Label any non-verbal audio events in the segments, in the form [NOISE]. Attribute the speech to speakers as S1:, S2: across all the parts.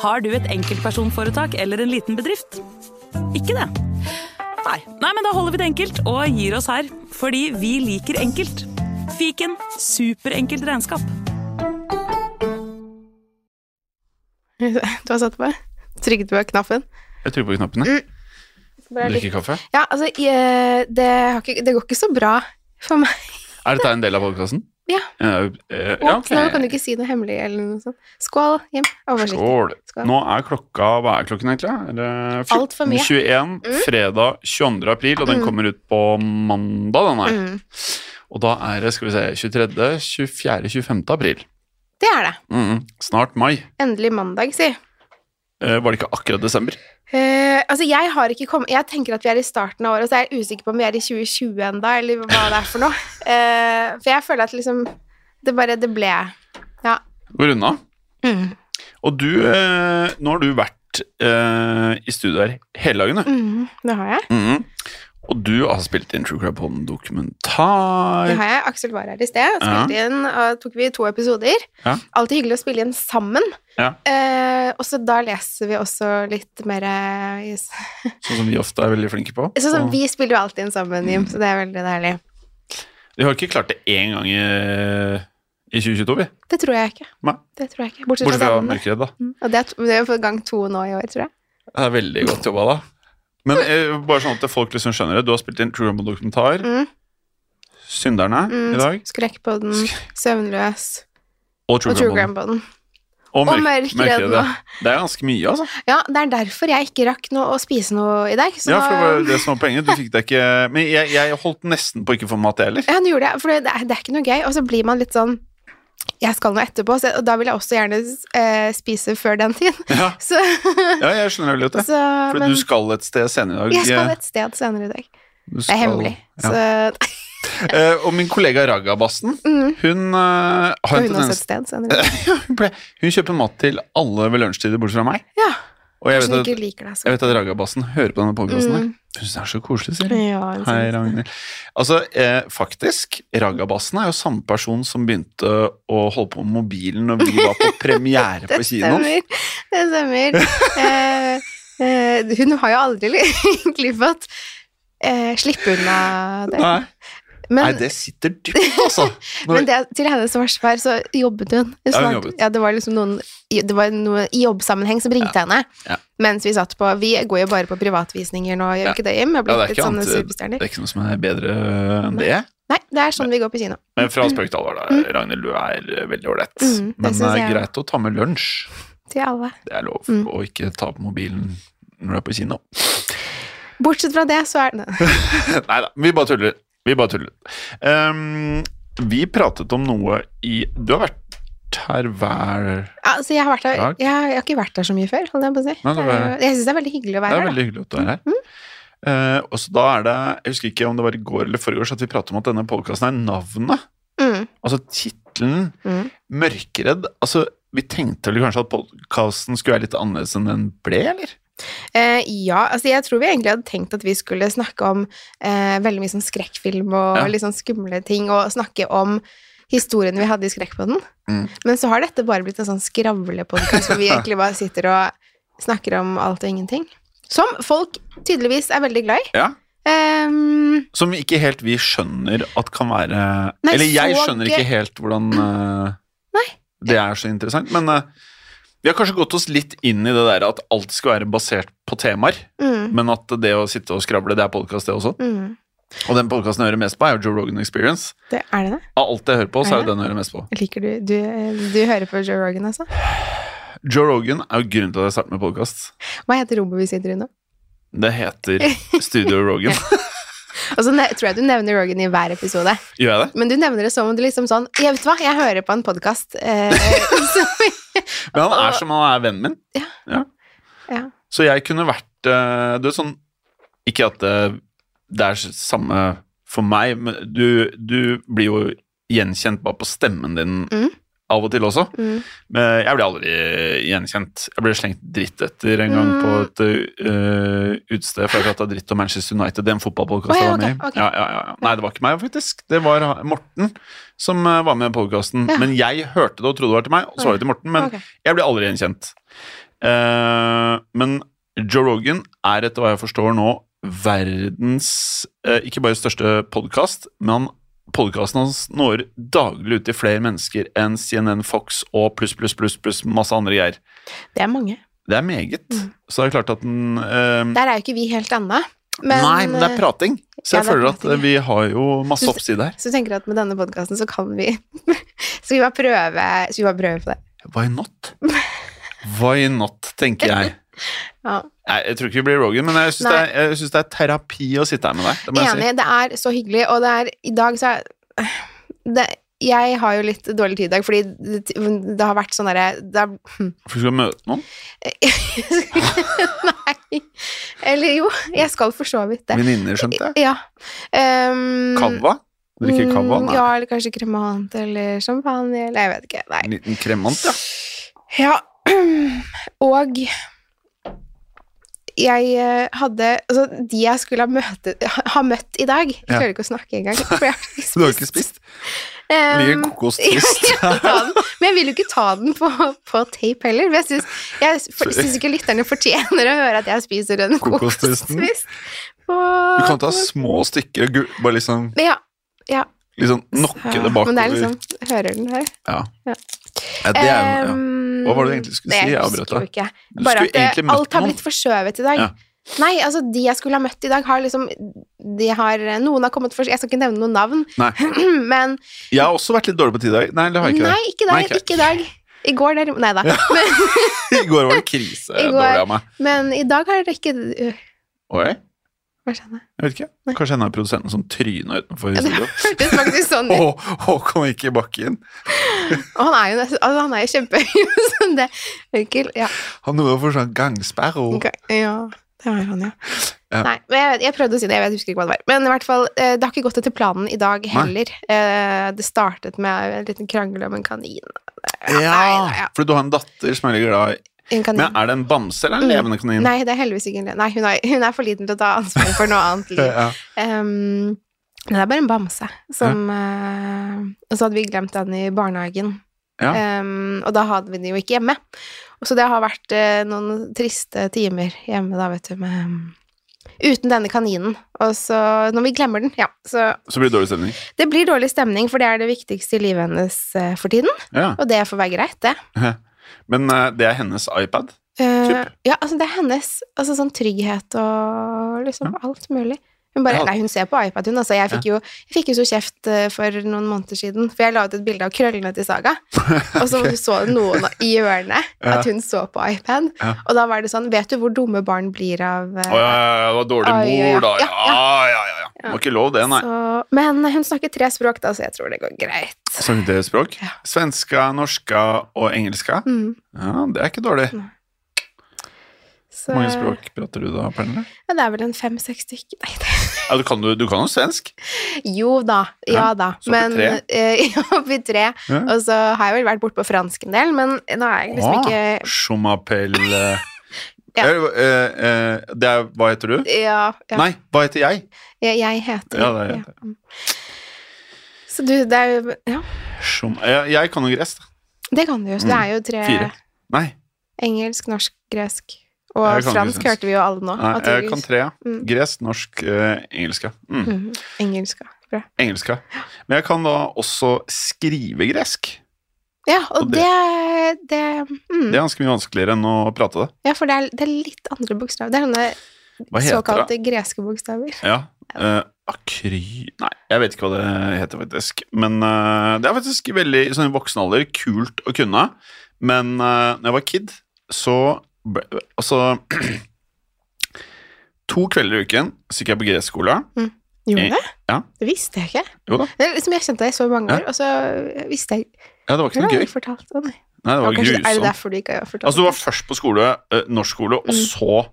S1: Har du et enkeltpersonforetak eller en liten bedrift? Ikke det? Nei. Nei, men da holder vi det enkelt og gir oss her. Fordi vi liker enkelt. Fiken superenkelt regnskap.
S2: Du har satt på? Trykket på knappen?
S3: Jeg tror på knappene. Drikke kaffe.
S2: Ja, altså, jeg, det, har ikke, det går ikke så bra for meg.
S3: Er dette en del av podkasten?
S2: Ja.
S3: Eh, eh, ja,
S2: Så nå kan du
S3: ok.
S2: ikke si noe hemmelig eller noe sånt. Skål, Jim. Oversikt.
S3: Skål.
S2: Skål.
S3: Nå er klokka Hva er klokken egentlig? Er det
S2: Alt for mye.
S3: 14.21 fredag 22. april, og den
S2: Mm.
S3: kommer ut på mandag, den her.
S2: Mm.
S3: Og da er det, skal vi se, 23., 24., 25. april.
S2: Det er det.
S3: Mm. Snart mai.
S2: Endelig mandag, si.
S3: Eh, var det ikke akkurat desember?
S2: Eh, altså, jeg har ikke kommet Jeg tenker at vi er i starten av året, så jeg er usikker på om vi er i 2020 enda, eller hva det er for noe. Eh, for jeg føler at liksom Det bare Det ble Ja.
S3: Går unna. Og du, eh, nå har du vært eh, i studio her hele dagen, du.
S2: Mm, det har jeg.
S3: Mhm. Og du har spilt inn True Crime på en dokumentar.
S2: Det har jeg. Aksel var her i sted, spilte inn, og tok vi to episoder.
S3: Ja.
S2: Alltid hyggelig å spille inn sammen.
S3: Ja.
S2: Eh, og så da leser vi også litt mer eh, i s-
S3: Sånn som vi ofte er veldig flinke på.
S2: Sånn som
S3: Og-
S2: vi spiller jo alltid inn sammen,
S3: Mm.
S2: Jim, så det er veldig deilig.
S3: Vi har ikke klart det én gang i, i 2022, vi.
S2: Det tror jeg ikke.
S3: Nei.
S2: Det tror jeg ikke. Bortsett
S3: Bortsett
S2: fra
S3: fra
S2: den.
S3: Mørkeredd, da.
S2: Mm. Og det er, to- det er jo for gang to nå i år, tror jeg.
S3: Det er veldig godt jobba, da. Men eh, bare sånn at folk liksom skjønner det. Du har spilt inn True Rumble-dokumentar.
S2: Mm.
S3: Synderne
S2: Mm.
S3: i dag.
S2: Skrekkpodden, Søvnløs
S3: Og True,
S2: og True
S3: Crime-podden.
S2: Gram-podden.
S3: Og,
S2: Og
S3: Mørk-
S2: Mørkeredd
S3: Mørkeredd, ja. Det er ganske mye, altså.
S2: Ja, det er derfor jeg ikke rakk noe å spise noe i dag. Så
S3: Ja, for det var
S2: nå
S3: jo det som var poenget. Du fikk det ikke Men jeg, jeg holdt nesten på å ikke få mat, jeg heller.
S2: Ja, nå gjorde jeg, for det er, det er ikke noe gøy. Og så blir man litt sånn Jeg skal noe etterpå, så, og da vil jeg også gjerne eh, spise før den tid.
S3: Ja.
S2: [LAUGHS] Så,
S3: ja, jeg skjønner veldig godt det.
S2: [LAUGHS] så
S3: For
S2: men
S3: du skal et sted senere i dag.
S2: jeg skal et sted senere i dag.
S3: Du
S2: Det
S3: skal-
S2: er hemmelig.
S3: ja.
S2: Så
S3: Eh, og min kollega Ragabasten,
S2: mm,
S3: hun eh, har en
S2: hun også et
S3: tendens
S2: sted senere i
S3: [LAUGHS]
S2: dag.
S3: hun, ble, hun kjøper mat til alle ved lunsjtider, bortsett fra meg.
S2: Ja,
S3: Og jeg
S2: Hvis hun
S3: vet,
S2: ikke
S3: at,
S2: liker deg så
S3: jeg vet at Ragabassen hører på denne podkasten. her. Hun syns det er så koselig, sier hun.
S2: Ja, hun
S3: Hei,
S2: synes det.
S3: Ragnhild. Altså, eh, faktisk, Ragabassen er jo samme person som begynte å holde på med mobilen når vi var på
S2: [LAUGHS]
S3: premiere på kinoen.
S2: Stemmer. Det stemmer. Eh, eh, hun har jo aldri [LAUGHS] li- egentlig fått eh, slippe unna det.
S3: Nei, nei,
S2: Men,
S3: det sitter dypt, altså.
S2: [LAUGHS]
S3: Når,
S2: men det, til hennes forsvar så jobbet hun.
S3: Ja, hun
S2: Snart-
S3: jobbet.
S2: Ja, det var liksom noen i- det var noe i jobbsammenheng som ringte henne.
S3: Ja.
S2: Mens vi satt på Vi går jo bare på privatvisninger nå, gjør
S3: Ja.
S2: vi ikke det, Jim? Jeg har blitt
S3: Ja, det er
S2: litt
S3: ikke
S2: sånne
S3: annet- eh, det
S2: superstjerner.
S3: er ikke noe som er bedre enn det.
S2: Nei, det er sånn vi går på kino.
S3: Men fra spøk til alvor, da, Ragnhild, du er eh, veldig ålreit.
S2: Mm, det
S3: Men det
S2: synes
S3: er
S2: jeg.
S3: greit å ta med lunsj.
S2: Til alle.
S3: Det er lov
S2: Mm.
S3: å ikke ta på mobilen når du er på kino. [LAUGHS]
S2: Bortsett fra det, så er det
S3: Nei da, vi bare tuller. Vi bare tuller. Ehm, vi pratet om noe i Du har vært her hver
S2: Altså, jeg har, vært der,
S3: Takk.
S2: jeg, har- jeg har ikke vært der så mye før, holdt jeg på å si.
S3: Nei, det
S2: Det
S3: var-
S2: er jo- Jeg Mm. syns det er veldig hyggelig å
S3: Det
S2: være her.
S3: er
S2: da.
S3: veldig hyggelig at du er her. Eh, og så da er det Jeg husker ikke om det var i går eller forrige år, så at vi pratet om at denne podkasten er navnet.
S2: Mm,
S3: Altså tittelen
S2: mm.
S3: Mørkeredd. Altså, vi tenkte vel kanskje at podkasten skulle være litt annerledes enn den ble, eller?
S2: Eh, ja, altså jeg tror vi egentlig hadde tenkt at vi skulle snakke om eh, veldig mye sånn skrekkfilm og
S3: Ja.
S2: litt sånn skumle ting, og snakke om historiene vi hadde i Skrekkpodden.
S3: Mm.
S2: Men så har dette bare blitt en sånn skravlepodkast
S3: [LAUGHS]
S2: hvor vi egentlig bare sitter og snakker om alt og ingenting. Som folk tydeligvis er veldig glad i.
S3: Ja.
S2: Ehm,
S3: Som ikke helt vi skjønner at kan være
S2: Nei,
S3: Eller jeg
S2: så
S3: skjønner
S2: gøy.
S3: ikke helt hvordan eh, det er så interessant. Men eh, vi har kanskje gått oss litt inn i det der at alt skal være basert på temaer.
S2: mm,
S3: Men at det å sitte og skravle, det er podkast, det også.
S2: mm,
S3: Og den podkasten jeg hører mest på, er jo Joe Rogan Experience.
S2: det er det det.
S3: Av alt jeg hører på, så
S2: Er
S3: er
S2: det?
S3: det den jeg hører mest på.
S2: Liker du, du Du hører på Joe Rogan, altså?
S3: Joe Rogan er jo grunnen til at jeg startet med podkast.
S2: Hva heter rommet vi sitter i nå?
S3: Det
S2: [LAUGHS]
S3: heter Studio Rogan.
S2: Og så Altså, ne- tror jeg du nevner Rogan i hver episode.
S3: Gjør jeg det?
S2: Men du nevner det som om du liksom sånn Jeg vet hva, jeg hører på en podkast. Eh, [LAUGHS] som-
S3: Men han er som han er vennen min.
S2: Ja. Ja.
S3: Så jeg kunne vært eh, Du er sånn Ikke at det, det er samme for meg, men du, du blir jo gjenkjent bare på stemmen din
S2: Mm.
S3: av og til også.
S2: Mm.
S3: Men jeg blir aldri gjenkjent. Jeg ble slengt dritt etter en gang på
S2: Mm.
S3: et eh, utested for jeg prata dritt om Manchester United. Det er en
S2: Å,
S3: fotballpodkast jeg
S2: ja,
S3: var med i.
S2: ok, ok.
S3: Ja, ja, ja, ja. Nei, det var ikke meg, faktisk. Det var ha- Morten som eh, var med i podkasten.
S2: Ja.
S3: Men jeg hørte det og trodde det var til meg, og så var det til Morten. Men
S2: Ok.
S3: jeg ble aldri gjenkjent. Eh, men Joe Rogan er etter hva jeg forstår nå verdens eh, ikke bare største podkast, men podkasten hans når daglig ut til flere mennesker enn CNN, Fox og pluss, pluss, pluss, pluss masse andre greier.
S2: Det er mange.
S3: Det er meget.
S2: Mm.
S3: Så det er klart at den eh,
S2: Der er jo ikke vi helt ennå. Men, eh,
S3: Nei, men det er prating. Så
S2: ja,
S3: jeg
S2: det er
S3: føler at
S2: prating, ja.
S3: vi har jo masse oppside her.
S2: Så tenker jeg at med denne podkasten så kan vi [LAUGHS] Skal vi bare prøve Skal vi bare prøve på det?
S3: Why not? Why not, tenker jeg.
S2: [LAUGHS] Ja.
S3: Nei, jeg tror ikke vi blir Rogan, men jeg syns
S2: Nei.
S3: det, er- jeg synes det er terapi å sitte her med deg. Det må jeg si.
S2: Enig. Det er så hyggelig, og det er I dag så er [SIGHS] det, Jeg har jo litt dårlig tid i dag, fordi det, det har vært sånn derre det har-
S3: For du skal møte noen?
S2: [LAUGHS] Nei. Eller jo, jeg skal for så vidt det.
S3: Venninner, skjønte jeg.
S2: Ja. Um,
S3: Kava? Drikke kava? Nei.
S2: mm, Ja, eller kanskje kremant eller champagne, eller jeg vet ikke. Nei.
S3: En liten kremant, ja.
S2: Ja, [CLEARS THROAT] og jeg eh, hadde Altså, de jeg skulle ha, møte, ha, ha møtt i dag Jeg
S3: Ja.
S2: klarer ikke å snakke engang. For jeg har ikke
S3: [LAUGHS] Du har ikke spist?
S2: Um,
S3: Ligger kokostrist.
S2: [LAUGHS] ja, jeg tar den. Men jeg vil jo ikke ta den på, på tape heller. For jeg syns, jeg for- syns ikke lytterne fortjener å høre at jeg spiser en
S3: Kokostristen.
S2: kokostrist. På,
S3: [LAUGHS] Du kan ta små stykker, gu- bare liksom,
S2: Ja. ja.
S3: liksom nokke det
S2: Men det er
S3: bakover.
S2: liksom Hører den her?
S3: Ja.
S2: Ja.
S3: Ja, det er jo ja.
S2: Um,
S3: Hva var det du egentlig skulle
S2: nei,
S3: si? Jeg
S2: husker
S3: avbrøt
S2: jo
S3: deg.
S2: ikke.
S3: Du
S2: Bare
S3: skulle
S2: at eh,
S3: egentlig møtt
S2: alt har
S3: noen.
S2: blitt forskjøvet i dag.
S3: Ja.
S2: Nei, altså de jeg skulle ha møtt i dag, har liksom de har, eh, Noen har kommet for Jeg skal ikke nevne noen navn, [CLEARS THROAT]
S3: Nei.
S2: men
S3: Jeg har også vært litt dårlig på tid i dag. Nei, det har jeg ikke.
S2: Nei,
S3: det.
S2: ikke i
S3: Nei,
S2: dag.
S3: ikke.
S2: Ikke i dag. I går, der Nei da. [LAUGHS]
S3: [LAUGHS] I går var det krise
S2: I går-
S3: dårlig av meg.
S2: Men i dag har dere ikke øh,
S3: Oi,
S2: Hva skjedde?
S3: jeg vet ikke. Kanskje henne er produsenten som tryna utenfor
S2: Ja, [LAUGHS] det
S3: studio.
S2: hørtes faktisk sånn ut.
S3: Hå- Håkon gikk i bakken.
S2: Og han er jo nesten altså, Han er jo kjempehøy, [LAUGHS] sånn det Onkel. Ja.
S3: Han gjorde for sånn gangsperre. og-
S2: Ok, ja. Det var jo han, ja.
S3: Ja.
S2: Nei, men jeg, vet- jeg prøvde å si det, jeg vet- husker ikke hva det var. Men i hvert fall, eh, det har ikke gått etter planen i dag heller. Eh, Det startet med en liten krangel om en kanin. nei, nei,
S3: Ja,
S2: ja.
S3: fordi du har en datter som er veldig glad i
S2: En kanin.
S3: Men er det en bamse eller en levende kanin?
S2: Mm. Nei, det er heldigvis ikke en le- Nei, hun er, hun er for liten til å ta ansvar for noe annet liv.
S3: Ja.
S2: Ehm, men det er bare en bamse som eh, Og så hadde vi glemt den i barnehagen.
S3: Ja.
S2: Ehm, og da hadde vi den jo ikke hjemme. Og så det har vært eh, noen triste timer hjemme da, vet du, med Uten denne kaninen. Og så Når vi glemmer den, ja. Så
S3: Så blir det dårlig stemning.
S2: det blir dårlig stemning, for det er det viktigste i livet hennes eh, for tiden.
S3: Ja.
S2: Og det får være greit, det.
S3: Men eh, det er hennes iPad.
S2: Eh,
S3: Typ.
S2: ja, altså det er hennes altså sånn trygghet og liksom alt mulig. Hun bare,
S3: Ja.
S2: nei, hun ser på iPad, hun. Altså, jeg fikk, jo, jeg fikk jo så kjeft eh, for noen måneder siden, for jeg la ut et bilde av krøllene til
S3: [LAUGHS]
S2: Saga, og så så noen i hjørnet
S3: Ja.
S2: at hun så på iPad,
S3: Ja.
S2: og da var det sånn, vet du hvor dumme barn blir av eh,
S3: Å ja, ja, ja, det var dårlig
S2: Oi, ja,
S3: mor, da.
S2: ja,
S3: Ja, ja, ja. ja. Det var ikke lov, det, nei.
S2: så, Men hun snakker tre språk, da, så jeg tror det går greit.
S3: Snakket dere språk?
S2: Ja.
S3: Svenska, norska og engelska?
S2: Mm,
S3: Ja, det er ikke dårlig.
S2: så,
S3: Hvor mange språk prater du da, Pernille?
S2: Ja, det er vel en fem-seks stykker. Nei, det
S3: Ja, du kan jo du kan jo svensk.
S2: Jo da, ja,
S3: Ja,
S2: da.
S3: så oppi tre?
S2: [LAUGHS] eh, ja, oppi tre.
S3: Ja.
S2: Og så har jeg vel vært borte på fransk en del, men nå er jeg liksom
S3: Ah,
S2: ikke
S3: Schumapel eh,
S2: [LAUGHS] Ja.
S3: eh, eh, eh, Det er Hva heter du?
S2: Ja, ja.
S3: Nei, hva heter jeg?
S2: Jeg, jeg heter
S3: Ja, det er-
S2: mm. Så du, det er jo Ja,
S3: Schum... Jeg, jeg kan jo gresk. da.
S2: det kan du jo. Så det er jo tre
S3: Mm. Fire. Nei,
S2: engelsk, norsk, gresk
S3: Jeg
S2: og
S3: kan ikke
S2: fransk
S3: svensk.
S2: hørte vi jo alle nå.
S3: nei
S2: Ah, at du-
S3: jeg kan tre. ja.
S2: Mm.
S3: Gresk, norsk, eh, engelska. Mm.
S2: Mm, engelsk, ja. Bra.
S3: Engelska. Men jeg kan da også skrive gresk.
S2: Ja, og
S3: Og
S2: det det, mm,
S3: Det er ganske mye vanskeligere enn å prate det.
S2: Ja, for det er, det er litt andre bokstaver. Det er sånne
S3: Hva heter det?
S2: såkalte greske bokstaver.
S3: Ja. eh, akry... Nei, jeg vet ikke hva det heter faktisk. Men eh, det er faktisk veldig i sånn i voksen alder kult å kunne. Men uh, når jeg var kid, så ble, Altså [CLEARS THROAT] To kvelder i uken så gikk jeg på gresskole.
S2: Gjorde
S3: Eh,
S2: du det?
S3: ja.
S2: Det visste jeg ikke.
S3: Jo da.
S2: Det er liksom jeg kjente deg i så mange
S3: Ja.
S2: år, og så visste jeg
S3: Ja, det var ikke
S2: Hvordan
S3: noe
S2: har du
S3: gøy.
S2: fortalt det? Nei.
S3: Nei, det
S2: Ja,
S3: var
S2: kanskje det- Er det
S3: grusomt.
S2: derfor du ikke har fortalt
S3: Altså, du var først på skole, eh, norsk skole, og
S2: Mm.
S3: så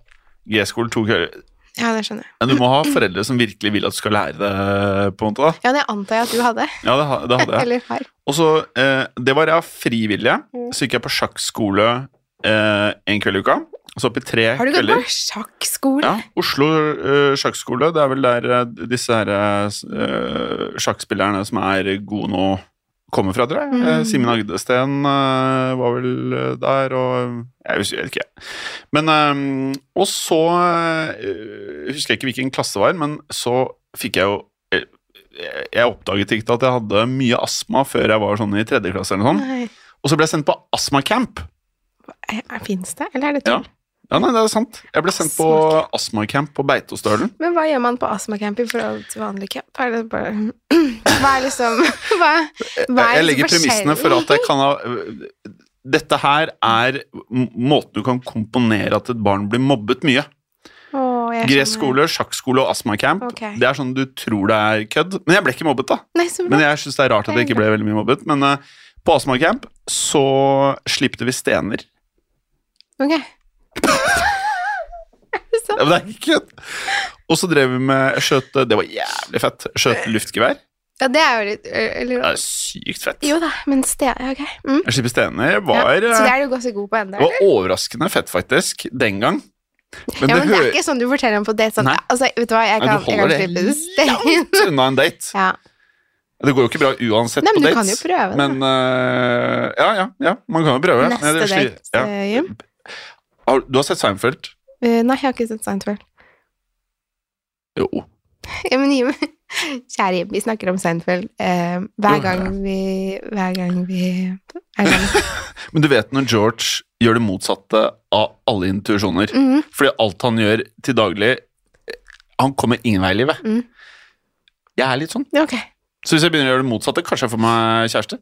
S3: gresskole to kvelder.
S2: det? Ja, det skjønner jeg.
S3: Men du må ha foreldre som virkelig vil at du skal lære det, på en måte. da.
S2: Ja, det antar jeg at du hadde.
S3: Ja, det, ha- det hadde jeg.
S2: Eller har.
S3: Og så, eh, det var jeg frivillige.
S2: Mm.
S3: Så gikk jeg på sjakkskole eh, en kveld i uka. Så opp i tre
S2: Har du gått
S3: kvelder.
S2: på sjakkskole?
S3: Ja, Oslo eh, sjakkskole. Det er vel der eh, disse her, eh, sjakkspillerne som er gode nå, kommer fra, tror jeg.
S2: Mm.
S3: Eh, Simen Agdesten eh, var vel eh, der, og jeg husker jeg vet ikke. jeg. Men eh, Og så eh, husker jeg ikke hvilken klasse det var, men så fikk jeg jo eh, jeg- Jeg oppdaget ikke at jeg hadde mye astma før jeg var sånn i tredje klasse eller noe sånt.
S2: Nei.
S3: Og så ble jeg sendt på astmacamp.
S2: Fins det, eller er det
S3: Ja.
S2: tull?
S3: Ja, nei, det er sant. Jeg ble sendt på astmacamp på Beitostølen.
S2: Men hva gjør man på astmacamp i forhold til vanlig camp? Er det bare [CLEARS THROAT] Hva er liksom Hva, hva er
S3: Jeg legger
S2: liksom
S3: premissene for at jeg kan ha Dette her er m- måten du kan komponere at et barn blir mobbet mye.
S2: Å, jeg skjønner.
S3: Gresskole, sjakkskole og astmacamp.
S2: Ok.
S3: Det er sånn du tror det er kødd. Men jeg ble ikke mobbet, da.
S2: Nei, så bra.
S3: Men jeg syns det er rart at jeg ikke ble veldig mye mobbet. Men eh, på astmacamp så slipte vi stener.
S2: Ok.
S3: Ja, men det er ikke kødd! Og så drev vi med jeg skjøt Det var jævlig fett. Jeg Skjøt luftgevær.
S2: Ja, det er jo litt
S3: Det
S2: eller,
S3: er sykt fett.
S2: Jo da, men ste... Ja, ok. Mm.
S3: Jeg slipper stener
S2: Ja.
S3: var
S2: Så det
S3: eh,
S2: er du ganske god på ennå?
S3: det var overraskende fett, faktisk, den gang. Men,
S2: ja, men det
S3: hører-
S2: er ikke sånn du forteller om på date. Sånn,
S3: Nei.
S2: altså, vet du hva, jeg
S3: Nei,
S2: kan,
S3: du
S2: jeg kan
S3: holder det
S2: slippe det [LAUGHS] stein.
S3: langt unna en date.
S2: Ja.
S3: Det går jo ikke bra uansett
S2: Nei, men
S3: på
S2: du
S3: dates.
S2: kan jo prøve, da.
S3: Men øh, ja, ja, ja, man kan jo prøve.
S2: Neste
S3: Men jeg sli-
S2: date,
S3: ja.
S2: eh, Jim.
S3: Har- Du har sett Seinfeld?
S2: Eh, nei, jeg har ikke sett Seinfeld. [LAUGHS]
S3: Jo.
S2: Ja, men Jim, kjære Jim, vi snakker om Seinfeld eh, hver
S3: Jo,
S2: gang
S3: ja.
S2: vi Hver gang vi er sammen.
S3: Men du vet når George gjør det motsatte av alle intuisjoner.
S2: Mhm.
S3: Fordi alt han gjør til daglig Han kommer ingen vei i livet.
S2: Mm.
S3: Jeg er litt sånn.
S2: Ja, Ok.
S3: Så hvis jeg begynner å gjøre det motsatte, kanskje jeg får meg kjæreste.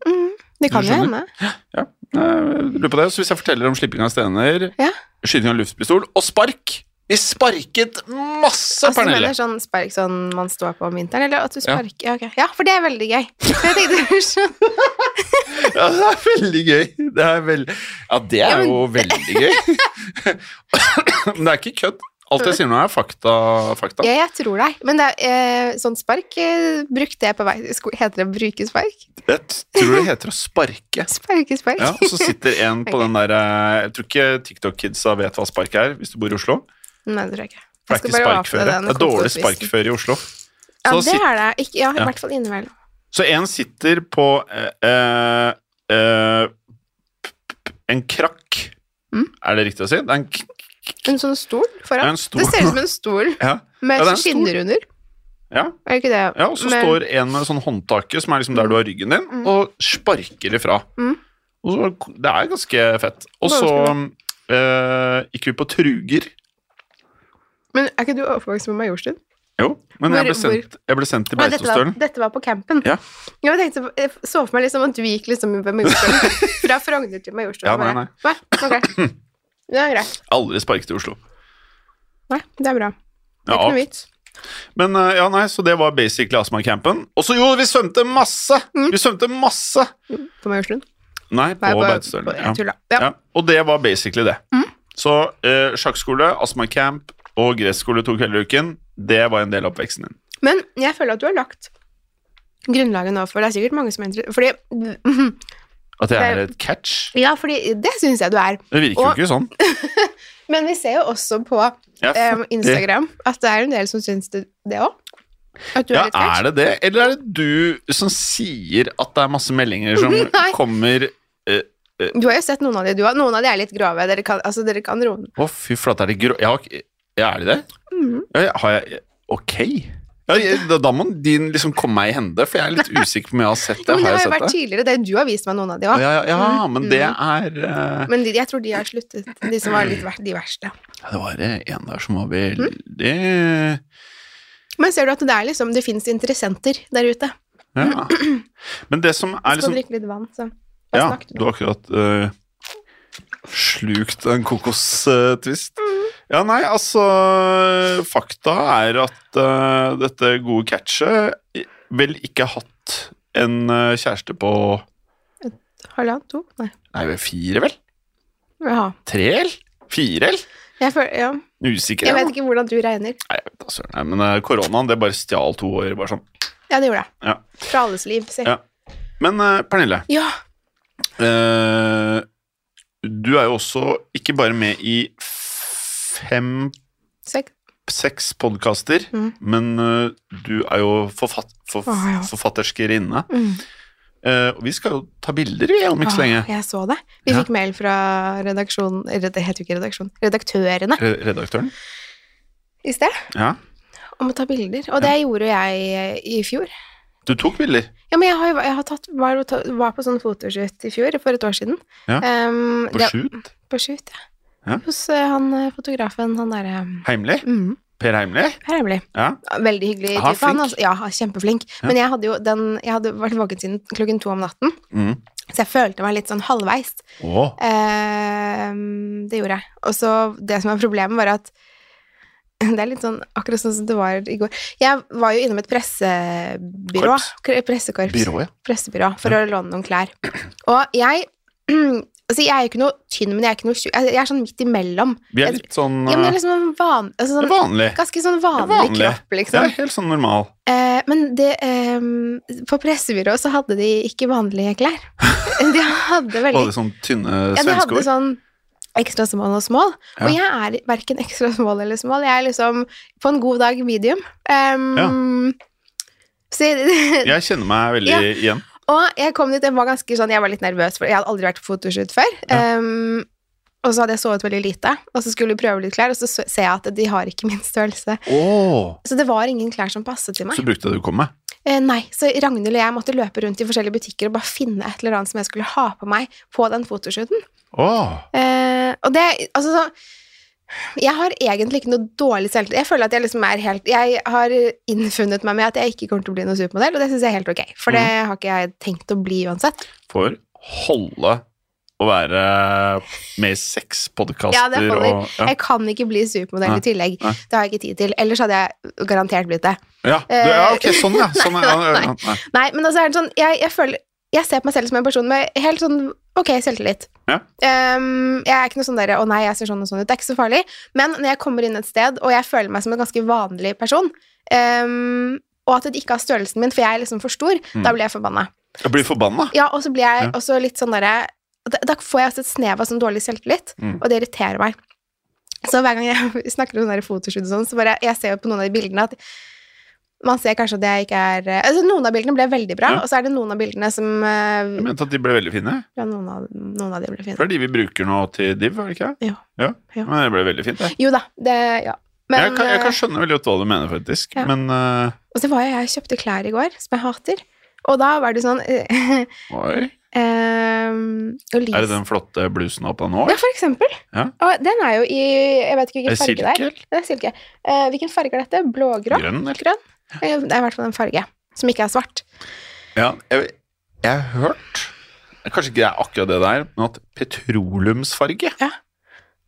S2: Det kan
S3: Du
S2: jo
S3: skjønner.
S2: hende.
S3: Ja, jeg lurer på det. Så hvis jeg forteller om slipping av stener,
S2: Ja.
S3: skyting av luftpistol og spark Vi sparket masse,
S2: Altså, du
S3: Pernille!
S2: mener sånn spark sånn man står på om vinteren, eller at du
S3: Ja.
S2: sparker Ja, ok. ja for det er veldig gøy. For jeg tenkte, sånn,
S3: [LAUGHS] Ja, det er veldig gøy. Det er vel... Ja, det er
S2: Ja, men-
S3: jo veldig gøy. Men det er ikke kødd. Alt jeg sier nå, er fakta. fakta.
S2: ja, jeg tror deg. Men det er, eh, sånn spark eh, brukte jeg på vei til skolen. Heter det bruke spark?
S3: Jeg tror det heter å sparke.
S2: Sparke spark.
S3: Ja, og så sitter en på
S2: Ok.
S3: den der eh, Jeg tror ikke TikTok-kidsa vet hva spark er, hvis du bor i Oslo.
S2: Nei, det tror jeg ikke.
S3: Det
S2: Jeg
S3: er
S2: skal
S3: ikke
S2: bare åpne
S3: sparkføre.
S2: den
S3: Det er dårlig
S2: kontoutvisning.
S3: sparkføre i Oslo.
S2: Ja,
S3: Så,
S2: det
S3: sit,
S2: er det. Ikke, ja,
S3: Ja.
S2: i hvert fall innimellom.
S3: så en sitter på eh, eh, eh, en krakk.
S2: Mm.
S3: Er det riktig å si? Det er en, k-
S2: En sånn stol
S3: det er
S2: foran.
S3: en
S2: Det
S3: stor
S2: ser ut som en stol
S3: Ja.
S2: med
S3: Ja, det er en stol.
S2: skinner under.
S3: ja.
S2: Er det ikke det?
S3: Ja, og så
S2: Men-
S3: står en med sånn håndtake, som er liksom der du har ryggen din,
S2: Mm.
S3: og sparker ifra.
S2: Mm.
S3: Og så, det er ganske fett. Og så eh, gikk vi på truger.
S2: Men er ikke du overvokst på Majorstuen?
S3: Jo, men jeg,
S2: Hvor-
S3: ble sendt, jeg ble sendt til
S2: Nei, Dette, var-
S3: Beitostølen.
S2: dette var på campen.
S3: Ja.
S2: Jeg tenkte, på- jeg så for meg liksom at du gikk liksom ved
S3: [LAUGHS]
S2: Majorstuen. Fra Frogner til Majorstuen.
S3: Ja, nei,
S2: bare. Nei, ok.
S3: [CLEARS THROAT]
S2: Det er greit.
S3: Aldri sparket i Oslo.
S2: Nei, det er bra. Det er
S3: Ja,
S2: ikke noe vits.
S3: men eh, ja, nei, så det var basically Astma-campen. Og så jo, vi svømte masse! Vi svømte masse!
S2: På Majorstuen.
S3: Nei,
S2: Mm.
S3: på
S2: Nei, på-
S3: Beitostølen.
S2: på- jeg
S3: ja.
S2: tuller. Ja. Mm.
S3: Ja, og det var basically det. Så eh, sjakkskole, astmacamp og gresskole to kvelder i uken, det var en del av oppveksten din.
S2: Men jeg føler at du har lagt grunnlaget nå, for det er sikkert mange som er interessert. Fordi,
S3: At jeg er
S2: Det-
S3: et catch?
S2: ja, fordi det syns jeg du er.
S3: Det virker
S2: Og-
S3: jo ikke sånn.
S2: Men vi ser jo også på [LAUGHS]
S3: Jeg
S2: eh,
S3: føler-
S2: Instagram at det er en del som syns det òg. At du
S3: Ja,
S2: er litt catch.
S3: er det det? Eller er det du som sier at det er masse meldinger som
S2: [LAUGHS] Nei.
S3: kommer eh,
S2: Du har jo sett noen av de du har. Noen av de er litt grove. Dere kan, altså, dere kan roe ned.
S3: Å, fy flate, er det grå... Ja, ok, ja, er det det?
S2: Mm.
S3: Ja, ja, har jeg Ok. Ja, jeg- da, da må din liksom komme meg i hende, for jeg
S2: [LAUGHS]
S3: er litt usikker på om jeg har sett det.
S2: Men det
S3: Har
S2: har jo
S3: jeg sett
S2: vært Mm.
S3: det?
S2: tidligere. Det du har vist meg noen av de
S3: Å,
S2: òg.
S3: Ja, ja, ja, men det er eh,
S2: Men de, jeg tror de har sluttet, de som var litt ver de verste.
S3: ja, Det var eh, en der som var
S2: Mm.
S3: veldig
S2: Men ser du at det er liksom Det fins interessenter der ute. [CLEARS THROAT]
S3: Ja. Men det som er
S2: Jeg skal
S3: liksom
S2: drikke litt vann, så Hva
S3: Ja,
S2: snakket
S3: du har akkurat eh, slukt en kokostvist.
S2: Mm.
S3: Ja, nei, altså Fakta er at eh, dette gode catchet i- vel ikke har hatt en eh, kjæreste på
S2: Halvannen? To? Nei.
S3: Nei, vel, fire, vel?
S2: Jaha.
S3: Tre, eller? Fire, eller?
S2: Jeg, føler, ja.
S3: Usikker.
S2: jeg
S3: ja.
S2: vet ikke hvordan du regner.
S3: Nei, jeg vet da søren. Nei, men eh, koronaen, det bare stjal to år, bare sånn.
S2: Ja, det gjorde jeg.
S3: Ja.
S2: Fra alles liv. Si.
S3: Ja. Men eh, Pernille,
S2: Ja.
S3: eh, du er jo også ikke bare med i fem
S2: Sek-
S3: seks podkaster,
S2: Mm.
S3: men ø, du er jo forfatt, forf
S2: Å, ja.
S3: forfatterskerinne.
S2: Mm.
S3: Eh, og vi skal jo ta bilder i om ikke så lenge.
S2: Åh, Ah, jeg så det. Vi
S3: Ja.
S2: fikk mail fra redaksjonen eller Det heter jo ikke redaksjon. Redaktørene
S3: Re- Redaktøren.
S2: i sted
S3: Ja.
S2: om å ta bilder. Og det gjorde jeg eh, i fjor.
S3: Du tok bilder.
S2: Ja, men jeg, har, jo- jeg har tatt, var, jo ta- var på sånn fotoshoot i fjor, for et år siden.
S3: Ja.
S2: Ehm,
S3: På
S2: det-
S3: shoot.
S2: På shoot, ja.
S3: Ja.
S2: Hos eh, han eh, fotografen, han derre
S3: Heimlig.
S2: mm,
S3: Per Heimlig.
S2: Per Heimli.
S3: Ja.
S2: Ah, Veldig hyggelig
S3: Han er
S2: type. Han,
S3: flink.
S2: altså, ja, han er kjempeflink. Men jeg hadde jo den Jeg hadde vært våken siden klokken to om natten,
S3: Mm.
S2: så jeg følte meg litt sånn halvveis.
S3: Å,
S2: Ehm, det gjorde jeg. Og så det som er problemet, var at [LAUGHS] det er litt sånn akkurat sånn som det var i går. Jeg var jo innom et pressebyrå.
S3: Korps.
S2: K- eh, Pressekorps.
S3: Byrået.
S2: Pressebyrå for å låne noen klær. Og jeg [CLEARS THROAT] Altså, jeg er jo ikke noe tynn, men jeg er ikke noe tjukk. Jeg jeg er sånn midt imellom.
S3: Vi
S2: Jeg-
S3: er litt sånn
S2: Ja, men jeg er
S3: eh,
S2: liksom en van, altså sånn,
S3: vanlig.
S2: ganske sånn vanlig,
S3: Vanlig.
S2: kropp, liksom.
S3: Ja, helt sånn normal.
S2: Eh, men det, eh, på pressebyrået så hadde de ikke vanlige
S3: [LAUGHS]
S2: klær. De hadde veldig
S3: Var det sånn tynne
S2: ja, de
S3: svenske
S2: hadde
S3: ord?
S2: sånn ekstra small og small.
S3: Ja.
S2: Og jeg er verken ekstra small eller small. Jeg er liksom på en god dag medium. Ehm, så,
S3: Jeg kjenner meg veldig
S2: sånn- Ja.
S3: igjen.
S2: [LAUGHS] og jeg kom dit, jeg var ganske sånn, jeg var litt nervøs, for jeg hadde aldri vært på fotoshoot før. Ehm, og så hadde jeg sovet veldig lite, og så skulle vi prøve litt klær, og så så- ser jeg at de har ikke min størrelse.
S3: Åh,
S2: Så det var ingen klær som passet til meg.
S3: så brukte jeg det du kom med.
S2: Eh, nei, så Ragnhild og jeg måtte løpe rundt i forskjellige butikker og bare finne et eller annet som jeg skulle ha på meg på den fotoshooten.
S3: Åh,
S2: Eh, og det, altså så, Jeg har egentlig ikke noe dårlig selvtillit. Jeg føler at jeg liksom er helt Jeg har innfunnet meg med at jeg ikke kommer til å bli noen supermodell, og det syns jeg er helt ok, for det
S3: Mm.
S2: har ikke jeg tenkt å bli uansett.
S3: får holde å være med i seks podkaster
S2: Ja, det holder.
S3: og ja.
S2: Jeg kan ikke bli supermodell
S3: Nei,
S2: i tillegg.
S3: nei.
S2: Det har jeg ikke tid til. Ellers hadde jeg garantert blitt det.
S3: Ja, du, ja, ok, sånn, ja. Sånn,
S2: [LAUGHS]
S3: ja, ja,
S2: Nei,
S3: ja, nei.
S2: Nei, men altså er det sånn Jeg, jeg føler Jeg ser på meg selv som en person med helt sånn ok selvtillit.
S3: Ja.
S2: Ehm, jeg er ikke noe sånn derre 'Å nei, jeg ser sånn og sånn ut'. Det er ikke så farlig. Men når jeg kommer inn et sted, og jeg føler meg som en ganske vanlig person, ehm, og at de ikke har størrelsen min, for jeg er liksom for stor,
S3: Mm.
S2: da blir jeg forbanna.
S3: Jeg blir forbanna.
S2: Ja, og så blir jeg
S3: Ja.
S2: også litt sånn derre da, da får jeg også et snev av sånn dårlig selvtillit,
S3: Mm.
S2: og det irriterer meg. Så hver gang jeg [LAUGHS] snakker om sånne der fotoshoot og sånn, så bare Jeg ser jo på noen av de bildene at man ser kanskje at jeg ikke er Altså, noen av bildene ble veldig bra,
S3: Ja.
S2: og så er det noen av bildene som eh,
S3: Jeg mente at de ble veldig fine.
S2: Ja, noen av, noen av de ble
S3: For
S2: fine.
S3: det er de vi bruker nå til div, er det ikke? det?
S2: Jo. Jo.
S3: Men det ble veldig fint, det.
S2: Jo da, det Ja.
S3: jeg, kan, jeg
S2: eh,
S3: kan skjønne veldig godt hva du mener, faktisk.
S2: Ja.
S3: Men eh,
S2: Og så var jeg Jeg kjøpte klær i går som jeg hater, og da var det sånn [LAUGHS] eh,
S3: oi,
S2: ehm, og lys-
S3: er det den flotte blusen opp av nå?
S2: Ja, for eksempel.
S3: Ja.
S2: Og den er jo i Jeg vet ikke
S3: Er
S2: hvilken farge det er.
S3: silke?
S2: Det er silke. Eh, hvilken farge er dette? Blågrå?
S3: Grønn, eller?
S2: Grønn? Eh, Det er i hvert fall en farge som ikke er svart.
S3: Ja, jeg, jeg har hørt Kanskje ikke det er akkurat det der, men at petroleumsfarge
S2: Ja.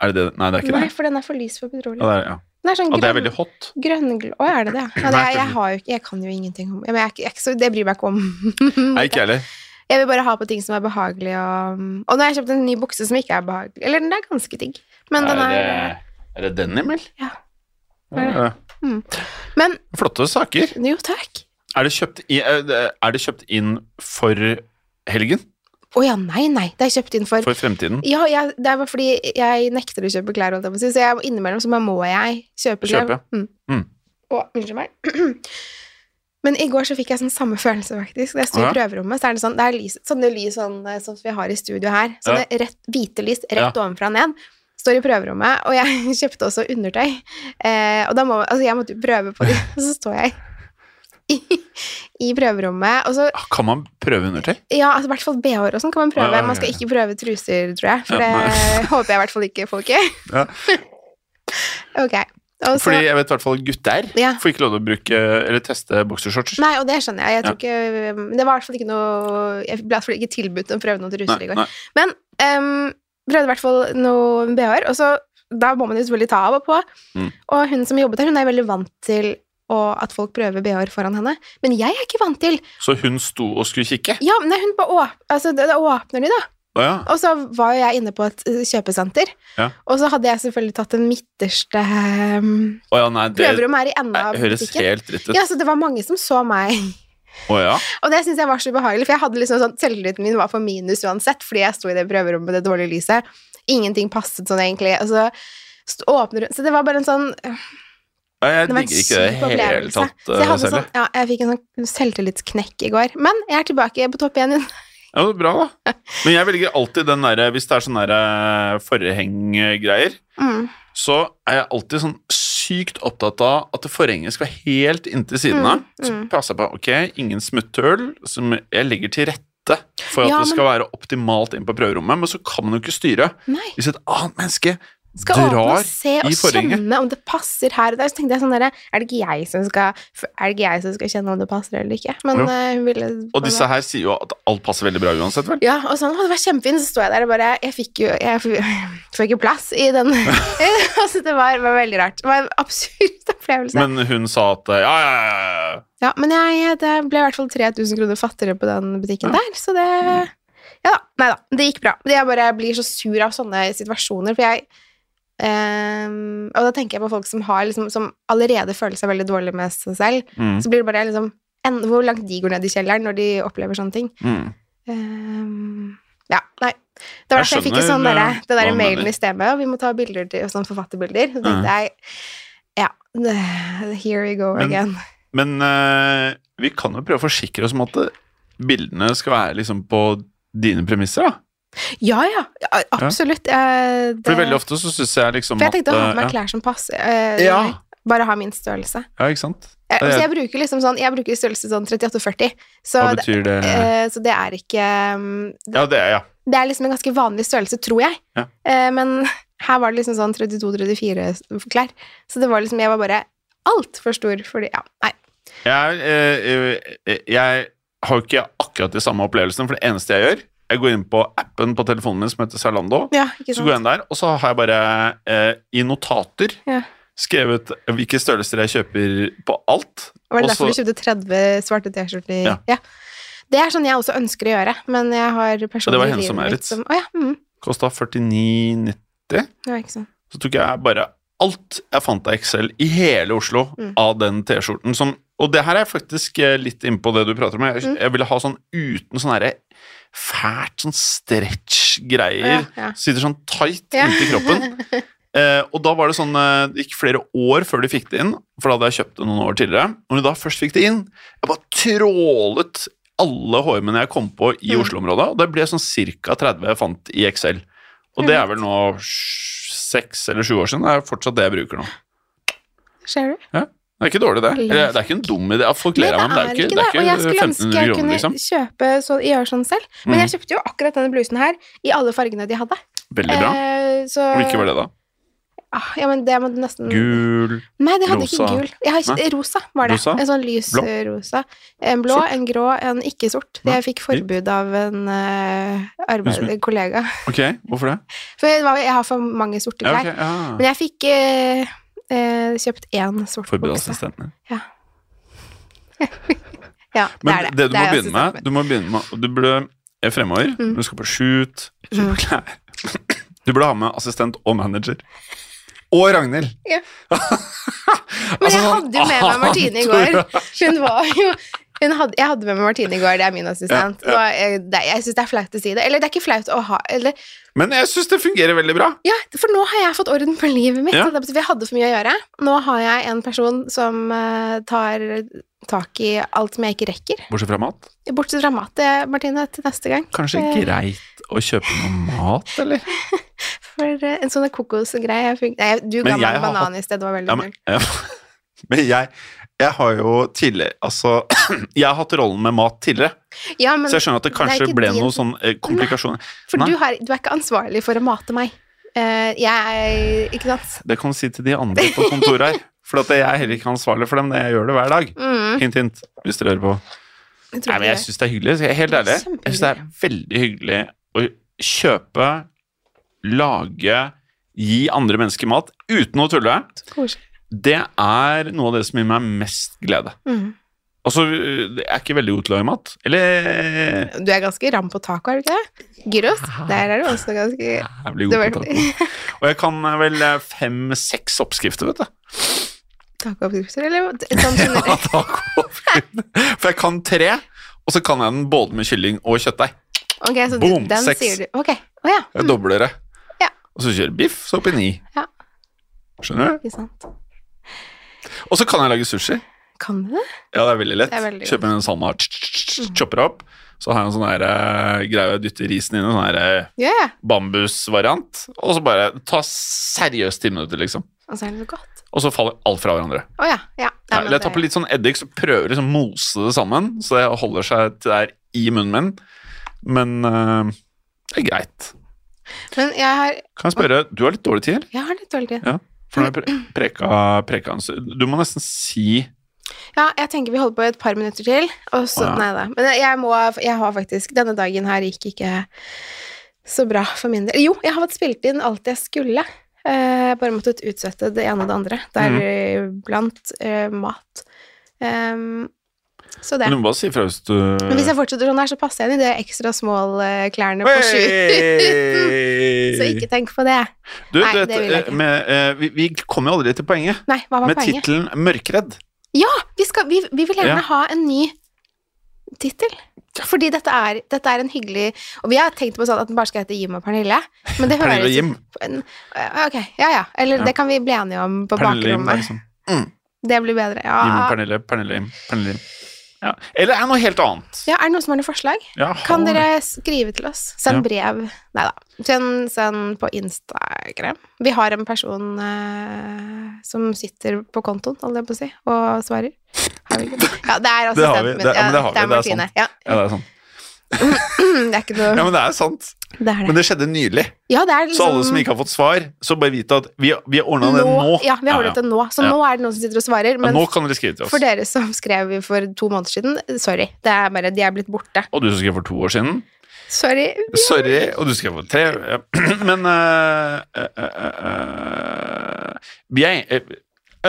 S3: Er det det? Nei, det er ikke
S2: Nei,
S3: det.
S2: for den er for lys for petroleum.
S3: Ja, det er, ja.
S2: Den er sånn
S3: At det er
S2: grønn,
S3: veldig hot.
S2: grønngl- Å, er det det? Ja, det
S3: Nei,
S2: er, jeg,
S3: grønn.
S2: har jo, ikke- jeg kan jo ingenting om ja, men jeg, er ikke- jeg, er ikke så- Det bryr jeg meg ikke om. [LAUGHS]
S3: Nei, ikke jeg heller.
S2: Jeg vil bare ha på ting som er behagelig, og Og nå har jeg kjøpt en ny bukse som ikke er behagelig. Eller den er ganske digg, men den er
S3: det- er det denim, eller?
S2: Ja.
S3: Ja,
S2: Mm. Men
S3: Flotte saker.
S2: jo, takk.
S3: Er det kjøpt, i, er det kjøpt inn for helgen?
S2: Å ja, nei, nei. Det er kjøpt inn for
S3: For fremtiden?
S2: Ja, jeg, det er bare fordi jeg nekter å kjøpe klær, holdt jeg på å si, så jeg, innimellom så bare må jeg kjøpe klær.
S3: Kjøpe.
S2: Mm.
S3: Mm.
S2: Å, unnskyld meg. [CLEARS THROAT] Men i går så fikk jeg sånn samme følelse, faktisk. Da jeg sto
S3: Ja.
S2: i prøverommet, så er det sånn, det er lys, sånne lys sånn, eh, sånn som vi har i studio her. Sånne rett, hvite lys rett
S3: Ja.
S2: ovenfra og ned. Står i prøverommet, og jeg [LAUGHS] kjøpte også undertøy. Eh, og da må Altså, jeg måtte jo prøve på det, [LAUGHS] og så står jeg i, i prøverommet, og så
S3: Ah, Kan man prøve undertøy?
S2: ja, altså, i hvert fall BH-er og sånn kan man prøve.
S3: Ja, ja, ja,
S2: Man skal
S3: ja.
S2: ikke prøve truser, tror jeg. For
S3: Ja, nei.
S2: det håper jeg i hvert fall ikke folk gjør.
S3: [LAUGHS] Ja.
S2: [LAUGHS] ok. Og så,
S3: Fordi jeg vet i hvert fall gutter
S2: Ja.
S3: får ikke lov til å bruke eller teste boksershorts.
S2: Nei, og det skjønner jeg. jeg tror ikke, men det var i hvert fall ikke noe Jeg ble i hvert fall ikke tilbudt å prøve noen truser i går.
S3: nei.
S2: Em, prøvde i hvert fall noen BH-er, og så da må man jo selvfølgelig ta av og på.
S3: Mm.
S2: Og hun som jobbet her, hun er veldig vant til å- at folk prøver BH-er foran henne. Men jeg er ikke vant til
S3: Så hun sto og skulle kikke.
S2: Ja, men hun bare åp altså, da da åpner de, da.
S3: Å ja.
S2: Og så var jo jeg inne på et eh, kjøpesenter,
S3: Ja.
S2: og så hadde jeg selvfølgelig tatt den midterste ehm,
S3: Å ja, nei, det
S2: prøverommet her i enden
S3: nei,
S2: av
S3: høres
S2: butikken.
S3: helt dritt ut.
S2: Ja, så det var mange som så meg, [LAUGHS]
S3: Å ja.
S2: og det syns jeg var så ubehagelig, for jeg hadde liksom sånn selvtilliten min var på minus uansett, fordi jeg sto i det prøverommet med det dårlige lyset. Altså, Ingenting passet sånn egentlig, og så st- åpner hun Så øh, det var bare en sånn
S3: Nei, Jeg
S2: Det var en
S3: digger ikke det i
S2: syk
S3: det hele
S2: opplevelse.
S3: tatt.
S2: Så jeg,
S3: eh,
S2: hadde
S3: Sally.
S2: sånn, ja, jeg fikk en sånn selvtillitsknekk i går. Men jeg er tilbake på topp igjen.
S3: Ja, det er bra, da. Men jeg velger alltid den derre Hvis det er sånne der, eh, forhenggreier,
S2: Mm.
S3: så er jeg alltid sånn sykt opptatt av at det forhenget skal være helt inntil siden av.
S2: Mm,
S3: Så
S2: mm.
S3: passer jeg på ok, ingen smutthull. Som jeg legger til rette for at
S2: Ja,
S3: det skal være optimalt inn på prøverommet, men så kan man jo ikke styre
S2: Nei.
S3: hvis et annet menneske
S2: Skal åpne
S3: drar
S2: og se og
S3: i forhenget.
S2: kjenne om det passer her og der. Så tenkte jeg sånn derre Er det ikke jeg som skal Er det ikke jeg som skal kjenne om det passer eller ikke? Men
S3: Jo.
S2: eh, hun ville
S3: Og disse her sier jo at alt passer veldig bra uansett, vel?
S2: Ja, og sånn, «Å, det var kjempefint, så står jeg der og bare, jeg fikk jo, jeg f- [LAUGHS] får ikke plass i
S3: [LAUGHS]
S2: den, [LAUGHS] altså det var, var veldig rart, det var en absurd opplevelse.
S3: Men hun sa at eh, ja, ja, ja, ja.
S2: ja, men jeg, det ble i hvert fall 3000 kroner fattigere på den butikken der, så det, ja da, nei da, det gikk bra. Men Jeg bare blir så sur av sånne situasjoner, for jeg, ehm, og da tenker jeg på folk som har, liksom, som allerede føler seg veldig dårlig med seg selv,
S3: Mm,
S2: så blir det bare liksom, en, hvor langt de går ned i kjelleren når de opplever sånne ting.
S3: mm.
S2: Ehm, ja, nei. Det var
S3: Jeg
S2: derfor jeg fikk en sånn
S3: skjønner,
S2: derre-
S3: eh,
S2: den
S3: hva
S2: derre
S3: du
S2: mailen
S3: mener.
S2: i sted med, og vi må ta bilder til, og sånn forfatterbilder. Så tenkte jeg ja, det- here we go
S3: Men-
S2: again.
S3: Men eh, vi kan jo prøve å forsikre oss om at det- bildene skal være liksom på dine premisser, da.
S2: Ja, ja, ja, absolutt. eh, det-
S3: For veldig ofte så syns jeg liksom
S2: for jeg tenkte å ha
S3: at,
S2: på meg
S3: eh,
S2: klær som passer. eh,
S3: ja.
S2: Bare ha min størrelse.
S3: ja, ikke sant?
S2: Eh,
S3: Ja,
S2: Så
S3: ja.
S2: jeg bruker liksom sånn, jeg bruker størrelse sånn 38-40. Så,
S3: Hva
S2: det-
S3: betyr det?
S2: eh, så det er ikke um,
S3: Ja, det er ja.
S2: Det er liksom en ganske vanlig størrelse, tror jeg.
S3: Ja.
S2: Eh, men [LAUGHS] her var det liksom sånn 32-34 klær. Så det var liksom Jeg var bare altfor stor fordi Ja, nei.
S3: Jeg, eh, eh, jeg har jo ikke akkurat de samme opplevelsene, for det eneste jeg gjør Jeg går inn på appen på telefonen min som heter Zalando.
S2: Ja, ikke
S3: Så går jeg
S2: sant.
S3: inn der, og så har jeg bare eh, i notater
S2: Ja.
S3: skrevet hvilke størrelser jeg kjøper på alt.
S2: Var det
S3: og
S2: derfor
S3: så-
S2: du kjøpte 30 svarte T-skjorter?
S3: Ja.
S2: Det er sånn jeg også ønsker å gjøre, men jeg har personlig
S3: hennes og Maurits.
S2: Å ja. Mm.
S3: Kosta 49,90.
S2: ja ikke sånn. sant.
S3: Så tok jeg bare alt jeg fant av Excel i hele Oslo
S2: Mm.
S3: av den T-skjorten som Og det her er faktisk eh, litt innpå det du prater om. Jeg,
S2: Mm.
S3: jeg ville ha sånn uten sånn herre fælt sånn stretch-greier.
S2: Ja, ja.
S3: Sitter sånn tight
S2: Ja.
S3: inntil
S2: [LAUGHS]
S3: kroppen. Eh, og da var det sånn eh, Det gikk flere år før de fikk det inn, for da hadde jeg kjøpt det noen år tidligere. Når de da først fikk det inn, jeg bare trålet alle hårmennene jeg kom på i
S2: Mm.
S3: Oslo-området, og det ble sånn ca. 30 jeg fant i Excel. Og det er vel nå sj- seks eller sju år siden. Det er fortsatt det jeg bruker nå.
S2: Ser du?
S3: Det er ikke dårlig, det.
S2: Lek.
S3: Eller, det er ikke en dum idé. Ja, Folk ler av meg, men det er ikke, det
S2: Og jeg
S3: er
S2: skulle
S3: ikke
S2: ønske
S3: 1500
S2: jeg
S3: kroner,
S2: kunne
S3: liksom.
S2: kjøpe så, gjøre sånn selv, men
S3: Mm.
S2: jeg kjøpte jo akkurat denne blusen her i alle fargene de hadde.
S3: Veldig bra.
S2: Eh, så
S3: Hvilken var det, da?
S2: Ah, ja, men det må du nesten
S3: Gul
S2: Nei, det hadde ikke
S3: Rosa.
S2: gul. Jeg har,
S3: Nei?
S2: rosa var det.
S3: Rosa?
S2: En sånn lys
S3: Blå?
S2: eh, rosa. En blå,
S3: Sort?
S2: en grå, en ikke-sort.
S3: Nei,
S2: Jeg fikk forbud av en eh, arbeid,
S3: Hun som-
S2: en kollega.
S3: Ok, hvorfor det?
S2: For jeg, var, jeg har for mange sorte
S3: Ja,
S2: klær.
S3: ok, ja.
S2: Men jeg fikk eh, eh, kjøpt én sort
S3: Forbered
S2: bukse.
S3: assistentene.
S2: Ja, det
S3: Men
S2: er
S3: det,
S2: det.
S3: du må
S2: er
S3: begynne med Du må begynne med Du burde eh, fremover
S2: Mm.
S3: Du skal på shoot kjøpe klær. Du burde [CLEARS THROAT] ha med assistent og manager. Og Ragnhild!
S2: Ja.
S3: [LAUGHS] Altså,
S2: Men jeg
S3: sånn
S2: hadde jo
S3: [LAUGHS]
S2: med meg Martine i
S3: annet-
S2: går. Hun var jo hun hadde, jeg hadde med meg Martine i går, det er min assistent.
S3: Ja, ja.
S2: Og, eh, det, jeg syns det er flaut å si det. Eller det er ikke flaut å ha eller,
S3: Men jeg syns det fungerer veldig bra.
S2: Ja, for nå har jeg fått orden på livet mitt.
S3: Ja.
S2: og det betyr- Jeg hadde for mye å gjøre. Nå har jeg en person som eh, tar tak i alt som jeg ikke rekker.
S3: Bortsett fra mat.
S2: Bortsett fra mat, eh, Martine, til neste gang.
S3: Kanskje
S2: Eh.
S3: greit å kjøpe noe mat, eller?
S2: Mm. For eh, en sånn kokosgreie jeg fikk- Nei, jeg- du ga
S3: Men jeg
S2: meg en
S3: har
S2: banan i sted, det var veldig
S3: Ja, men, ja. [LAUGHS] men jeg, jeg har jo tidligere Altså, [CLEARS THROAT] jeg har hatt rollen med mat tidligere,
S2: null. Ja, men
S3: så jeg skjønner at det
S2: det er
S3: kanskje
S2: ikke
S3: ble
S2: din-
S3: noe sånn eh, komplikasjoner.
S2: For
S3: Nei.
S2: du, har, du er ikke ansvarlig for å mate meg. Eh, jeg Ikke sant?
S3: Det kan du si til de andre på kontoret her. For at jeg er heller ikke ansvarlig for dem, men jeg gjør det hver dag.
S2: Mm,
S3: Hint, hint, hvis dere hører på.
S2: jeg tror
S3: Nei, men jeg
S2: det.
S3: syns det er hyggelig. så jeg er Helt ærlig. Jeg syns det er veldig hyggelig å kjøpe, lage, gi andre mennesker mat uten å tulle.
S2: Så koselig.
S3: Det er noe av det som gir meg mest glede.
S2: Mm.
S3: Altså, jeg er ikke veldig god til å lage mat. Eller eh,
S2: Du er ganske ram på taco, er du ikke det? Gyros? Der er du også ganske
S3: Jeg blir
S2: Det
S3: god på
S2: var-
S3: taco. Og jeg kan eh, vel fem-seks oppskrifter, vet du.
S2: Tacooppskrifter, eller? Sånn
S3: [LAUGHS]
S2: generelt.
S3: Ja, taco. For jeg kan tre, og så kan jeg den både med kylling og kjøttdeig.
S2: Ok, så
S3: Boom,
S2: du, den
S3: seks.
S2: sier du. Ok, å ja.
S3: Jeg dobler det.
S2: Ja.
S3: Og så kjører biff, så opp i ni.
S2: Ja.
S3: Skjønner du?
S2: Ikke sant.
S3: Og så kan jeg lage sushi.
S2: Kan du det?
S3: Ja, det er veldig lett.
S2: Det er veldig
S3: Kjøper en salma, tsk, tsk, tsk, chopper det opp. Så har jeg en sånn her, eh, greie jeg dytter risen inn i, en sånn her eh,
S2: Ja, ja.
S3: bambusvariant. Og så bare ta seriøst ti minutter, liksom.
S2: Og så er det noe godt.
S3: Og så faller alt fra hverandre.
S2: Å ja. ja.
S3: Nei,
S2: Nei, men
S3: eller jeg tar på litt sånn eddik, så prøver jeg liksom å mose det sammen, så det holder seg til der i munnen min. Men eh, det er greit.
S2: Men jeg har,
S3: Kan jeg spørre, du har litt dårlig tid, eller?
S2: jeg har litt dårlig tid.
S3: For nå har jeg pre- preka, preka en stund. Du må nesten si
S2: Ja, jeg tenker vi holder på et par minutter til, og så
S3: Å, ja.
S2: Nei da. Men jeg må Jeg har faktisk Denne dagen her gikk ikke så bra for min del. Jo, jeg har fått spilt inn alt jeg skulle. Eh, bare måttet utsette det ene og det andre, deriblant eh, mat. Ehm, så det.
S3: Men du må bare si fra hvis du
S2: Men hvis jeg fortsetter sånn her, så passer jeg inn i de ekstra small eh, klærne på sju.
S3: Hey!
S2: [LAUGHS] så ikke tenk på det. Nei,
S3: Du, du vet,
S2: det vil jeg
S3: eh,
S2: ikke.
S3: med, eh, vi, vi kommer jo aldri til poenget.
S2: Nei, hva var
S3: Med
S2: poenget?
S3: tittelen 'Mørkredd'.
S2: Ja, vi, skal, vi, vi vil gjerne
S3: Ja.
S2: ha en ny tittel. Fordi dette er, dette er en hyggelig Og vi har tenkt på sånn at den bare skal hete Jim og Pernille. Men det
S3: Pernille
S2: høres
S3: og Jim.
S2: en- eh, Ok, ja ja. Eller
S3: Ja.
S2: det kan vi bli enige om på Ah.
S3: Pernille og Jim, det er
S2: bakrommet.
S3: liksom.
S2: Det blir bedre.
S3: Jim og
S2: Ja.
S3: Pernille, Pernille og Jim. Pernille og Jim. Ja. Eller er det noe helt annet?
S2: ja, er det noen som har noen forslag?
S3: Ja,
S2: Kan
S3: har-
S2: dere skrive til oss? Send brev. Nei da. Send, send på Instagram. Vi har en person eh, som sitter på kontoen, holdt jeg på å si, og svarer. Har vi ikke det?
S3: [LAUGHS]
S2: Ja, det er
S3: Det har vi.
S2: assistenten min.
S3: Det- ja,
S2: Ja,
S3: men det
S2: det er
S3: har vi. Det er
S2: Martine.
S3: sant.
S2: Ja. [CLEARS THROAT]
S3: Ja, det er sant.
S2: Det er ikke noe
S3: Ja, men det er sant.
S2: Det er
S3: Men
S2: det.
S3: det skjedde nylig.
S2: Ja, det er liksom
S3: Så alle som ikke har fått svar, så bare vite at vi, vi har ordna det nå.
S2: Ja, vi har ordnet det nå. Så
S3: Ja.
S2: nå er det noen som sitter og svarer.
S3: Ja,
S2: Men
S3: nå kan dere skrive til oss.
S2: for dere som skrev for to måneder siden, sorry. Det er bare, De er blitt borte.
S3: Og du som skrev for to år siden.
S2: Sorry.
S3: Sorry, og du skrev for tre. ja. [CLEARS THROAT] Men eh, eh, eh, eh, jeg eh,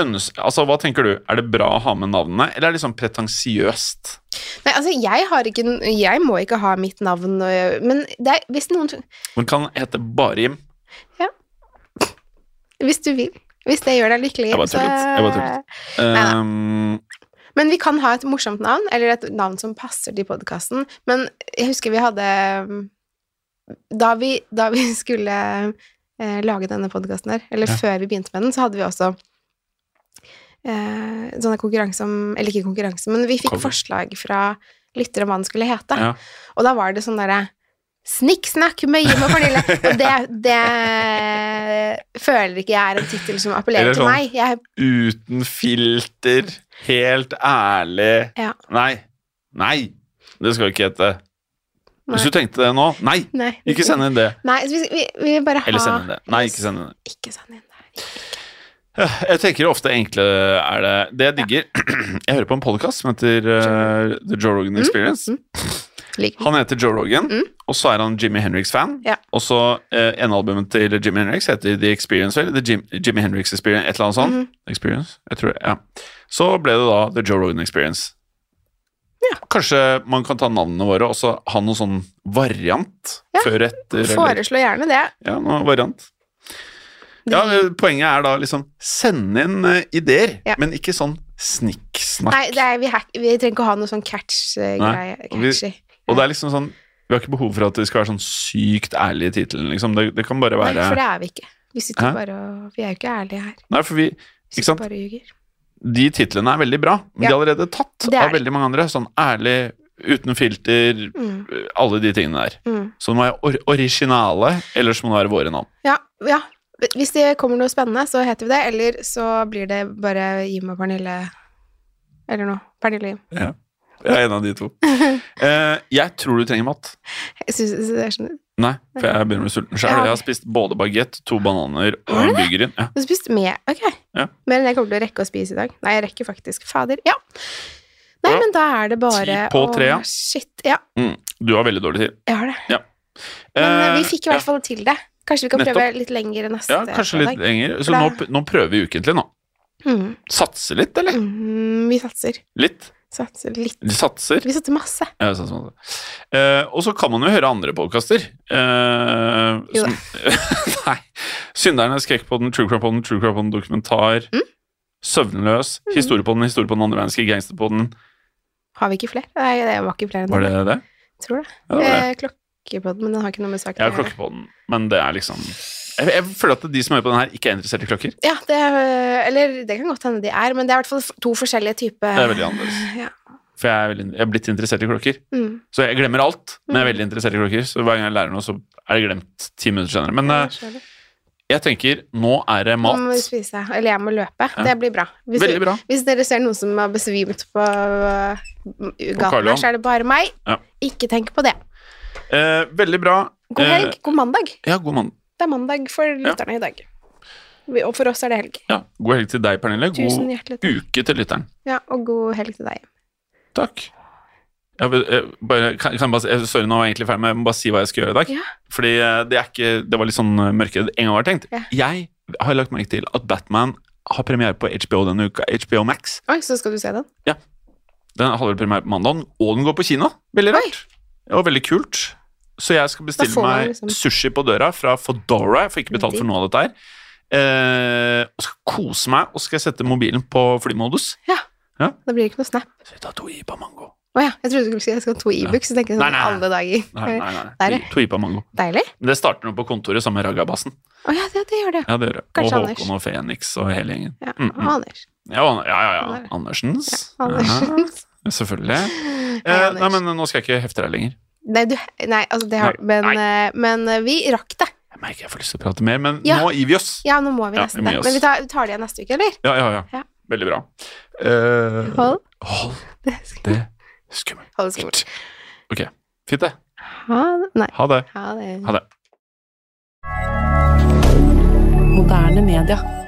S3: øns- Altså, hva tenker du? Er det bra å ha med navnene, eller er det liksom pretensiøst?
S2: Nei, altså, jeg har ikke Jeg må ikke ha mitt navn, og- men det er, hvis noen
S3: Man kan hete bare Jim.
S2: Hvis du vil. Hvis det gjør deg lykkelig.
S3: Jeg bare
S2: så-
S3: tullet. Jeg bare tullet. Um,
S2: Men vi kan ha et morsomt navn, eller et navn som passer til podkasten. Men jeg husker vi hadde mm, Da vi, da vi [LAUGHS] skulle eh, lage denne podkasten her, eller
S3: Ja.
S2: før vi begynte med den, så hadde vi også eh, sånne konkurranse om Eller ikke konkurranse, men vi fikk
S3: Cover.
S2: forslag fra lyttere om hva den skulle hete.
S3: Ja.
S2: Og da var det sånn derre Snikksnakk med Jim og
S3: [LAUGHS]
S2: Pernille. Og det, det føler ikke jeg er en tittel som appellerer
S3: Eller
S2: til
S3: sånn-
S2: meg. Jeg,
S3: uten filter, helt ærlig
S2: Ja.
S3: Nei. Nei! Det skal ikke hete.
S2: Nei.
S3: Hvis du tenkte det nå, nei!
S2: nei.
S3: Ikke send inn det.
S2: Nei, så vi, vi, vi vil bare ha
S3: Eller send inn det. Nei, ikke send inn det.
S2: Ikke send inn det.
S3: Ja, Jeg tenker ofte enkle er det Det jeg digger [CLEARS THROAT] Jeg hører på en podkast som heter eh, The Joe
S2: Mm.
S3: Rogan Experience.
S2: Lik.
S3: Han heter Joe Rogan,
S2: Mm.
S3: og så er han Jimmy Henriks-fan.
S2: Ja.
S3: Og så eh, en albumet til Jimmy Henriks heter The Experience, eller The Jim, Jimmy Henriks Experience, et eller annet sånt.
S2: Mhm.
S3: Experience, jeg tror det, ja. Så ble det da The Joe Rogan Experience. Kanskje man kan ta navnene våre og så ha noen sånn variant
S2: Ja.
S3: før og etter. Eller,
S2: Foreslå gjerne det.
S3: ja, noe variant. Ja, eh, poenget er da liksom send inn eh, ideer,
S2: Ja.
S3: men ikke sånn snikksnakk.
S2: Nei, det er, vi, hack, vi trenger ikke å ha noe sånn catch-greie.
S3: og vi-
S2: Catchy.
S3: Og det er liksom sånn Vi har ikke behov for at det skal være sånn sykt ærlig i tittelen, liksom. Det, det kan bare
S2: Nei,
S3: være
S2: for det er vi ikke. Vi sitter
S3: Hæ?
S2: bare og Vi er jo ikke ærlige her.
S3: Nei, for vi
S2: Vi
S3: Ikke sant?
S2: sitter bare og ljuger.
S3: de titlene er veldig bra, men
S2: Ja.
S3: de er allerede tatt
S2: Det er
S3: av
S2: de.
S3: veldig mange andre. Sånn ærlig, uten filter,
S2: Mm,
S3: alle de tingene der.
S2: mm.
S3: Så det må være or originale, ellers må det være våre navn.
S2: Ja, ja. Hvis det kommer noe spennende, så heter vi det. Eller så blir det bare Jim og Pernille Eller noe. Pernille og Jim.
S3: Jeg er en av
S2: [LAUGHS]
S3: de to. Eh, jeg tror du trenger mat.
S2: Jeg synes, sånn- jeg skjønner.
S3: Nei, for jeg begynner å bli sulten sjøl.
S2: Ja.
S3: Jeg har spist både bagett, to bananer og
S2: Har du
S3: en burger. Ja.
S2: Du spiste mer? Ok.
S3: Ja.
S2: Mer enn jeg kommer til å rekke å spise i dag. Nei, jeg rekker faktisk. Fader. Ja. Nei,
S3: Ja.
S2: men da er det bare
S3: Ti på
S2: å-
S3: tre, ja.
S2: Shit. Ja,
S3: Mm. Du har veldig dårlig tid.
S2: jeg har det. Men eh,
S3: Eh,
S2: vi fikk i hvert fall til det. Kanskje vi kan prøve
S3: nettopp.
S2: litt lenger neste
S3: ja, ja, kanskje litt
S2: fredag.
S3: lenger.
S2: For
S3: Så nå, nå prøver vi ukentlig, nå.
S2: Mm.
S3: Satse litt, eller?
S2: Mm, vi satser.
S3: Litt.
S2: Satser litt.
S3: De satser.
S2: Vi satser masse.
S3: Ja, sånn som det. Eh, og så kan man jo høre andre podkaster. Eh,
S2: Jo
S3: som- [LAUGHS] nei. 'Synderne', 'Skrekkpodden', 'True Crime Podden', 'True Crime Podden Dokumentar', 'Søvnløs', 'Historiepodden', 'Historiepodden andre verdenskrig', 'Gangsterpodden'.
S2: Har vi ikke flere? Nei, det var ikke flere enn
S3: Var det det?
S2: Tror det.
S3: Ja, det var det.
S2: Eh, klokkepodden, men den har ikke noe med saken
S3: Jeg
S2: å
S3: har
S2: gjøre.
S3: klokkepodden, men det er liksom Jeg, jeg føler at de som hører på den her, ikke er interessert i klokker.
S2: Ja, det, øh, eller det kan godt hende de er, men det er i hvert fall f- to forskjellige typer
S3: Det er veldig annerledes.
S2: ja.
S3: For jeg er, veldig, jeg er blitt interessert i klokker.
S2: mm.
S3: Så jeg glemmer alt, men jeg er veldig interessert i klokker. Så hver gang jeg lærer noe, så er det glemt ti minutter senere. Men eh,
S2: skjønner.
S3: jeg tenker, nå er det
S2: Nå må vi
S3: mat.
S2: spise, eller jeg må løpe. Det blir bra. Hvis,
S3: Veldig bra.
S2: hvis dere ser noen som har besvimt på øh, gaten
S3: Johan.
S2: her, så er det bare meg.
S3: Ja.
S2: Ikke tenk på det.
S3: Eh, veldig bra.
S2: God helg,
S3: Eh,
S2: god mandag.
S3: ja, god mann.
S2: Det er mandag for lytterne i dag. Vi- Og for oss er det helg.
S3: Ja, god helg til deg, Pernille.
S2: Tusen
S3: God
S2: hjertelig takk.
S3: uke til lytteren.
S2: Ja, og god helg til deg.
S3: Takk. Jeg vil, jeg, bare, kan, kan jeg bare, si- jeg- sorry, nå var jeg egentlig ferdig, men jeg må bare si hva jeg skal gjøre i dag.
S2: Ja.
S3: Fordi eh, det, er ikke, det var litt sånn eh, mørkere enn jeg hadde tenkt.
S2: Ja.
S3: Jeg har lagt merke til at Batman har premiere på HBO denne uka. HBO Max.
S2: Oi, så skal du se den.
S3: Den hadde vel premiere på mandag, og den går på kino. Veldig rart. Og veldig kult. Så jeg skal
S2: Da
S3: bestille
S2: får man
S3: meg
S2: liksom-
S3: sushi på døra fra Fodora. Jeg får ikke betalt for noe av dette her. Eh, og skal kose meg, og så skal jeg sette mobilen på flymodus.
S2: Da blir det ikke noe snap.
S3: Så jeg tar to ipa mango.
S2: Å ja, jeg trodde du skulle si jeg skal ha to e-books. Så tenker jeg
S3: Nei,
S2: sånn
S3: nei, nei.
S2: alle dager.
S3: Nei, nei,
S2: Der,
S3: nei.
S2: ja.
S3: To ipa mango.
S2: Deilig.
S3: Men det starter nå på kontoret sammen med Ragabassen.
S2: Å ja, det, det gjør det.
S3: Ja, det gjør det. Og
S2: Kanskje
S3: Håkon og Fenix og hele gjengen.
S2: Ja,
S3: Mm,
S2: og
S3: mm.
S2: Anders.
S3: Ja, og- ja, ja. ja.
S2: Ja.
S3: Andersens.
S2: Anders.
S3: Ja,
S2: [LAUGHS]
S3: selvfølgelig.
S2: Hei,
S3: Eh,
S2: Anders.
S3: nei, men nå skal jeg ikke hefte deg lenger.
S2: [LAUGHS] Nei, du, nei, altså det har men, eh, men eh, vi rakk det.
S3: Jeg merker jeg får lyst til å prate mer, men
S2: Ja.
S3: nå gir vi oss.
S2: Ja, nå må vi
S3: Ja,
S2: nesten
S3: vi må
S2: det.
S3: gi oss.
S2: Men vi tar, vi tar det igjen neste uke, eller?
S3: Ja, ja, ja.
S2: Ja.
S3: Veldig bra. Eh,
S2: Hold
S3: hold
S2: [LAUGHS] det skummelt.
S3: det skummelt.
S2: Hold det skummelt.
S3: Ok, fint det.
S2: Ha det. Nei.
S3: Ha det.
S2: Ha det.
S3: Ha det.
S1: Moderne media.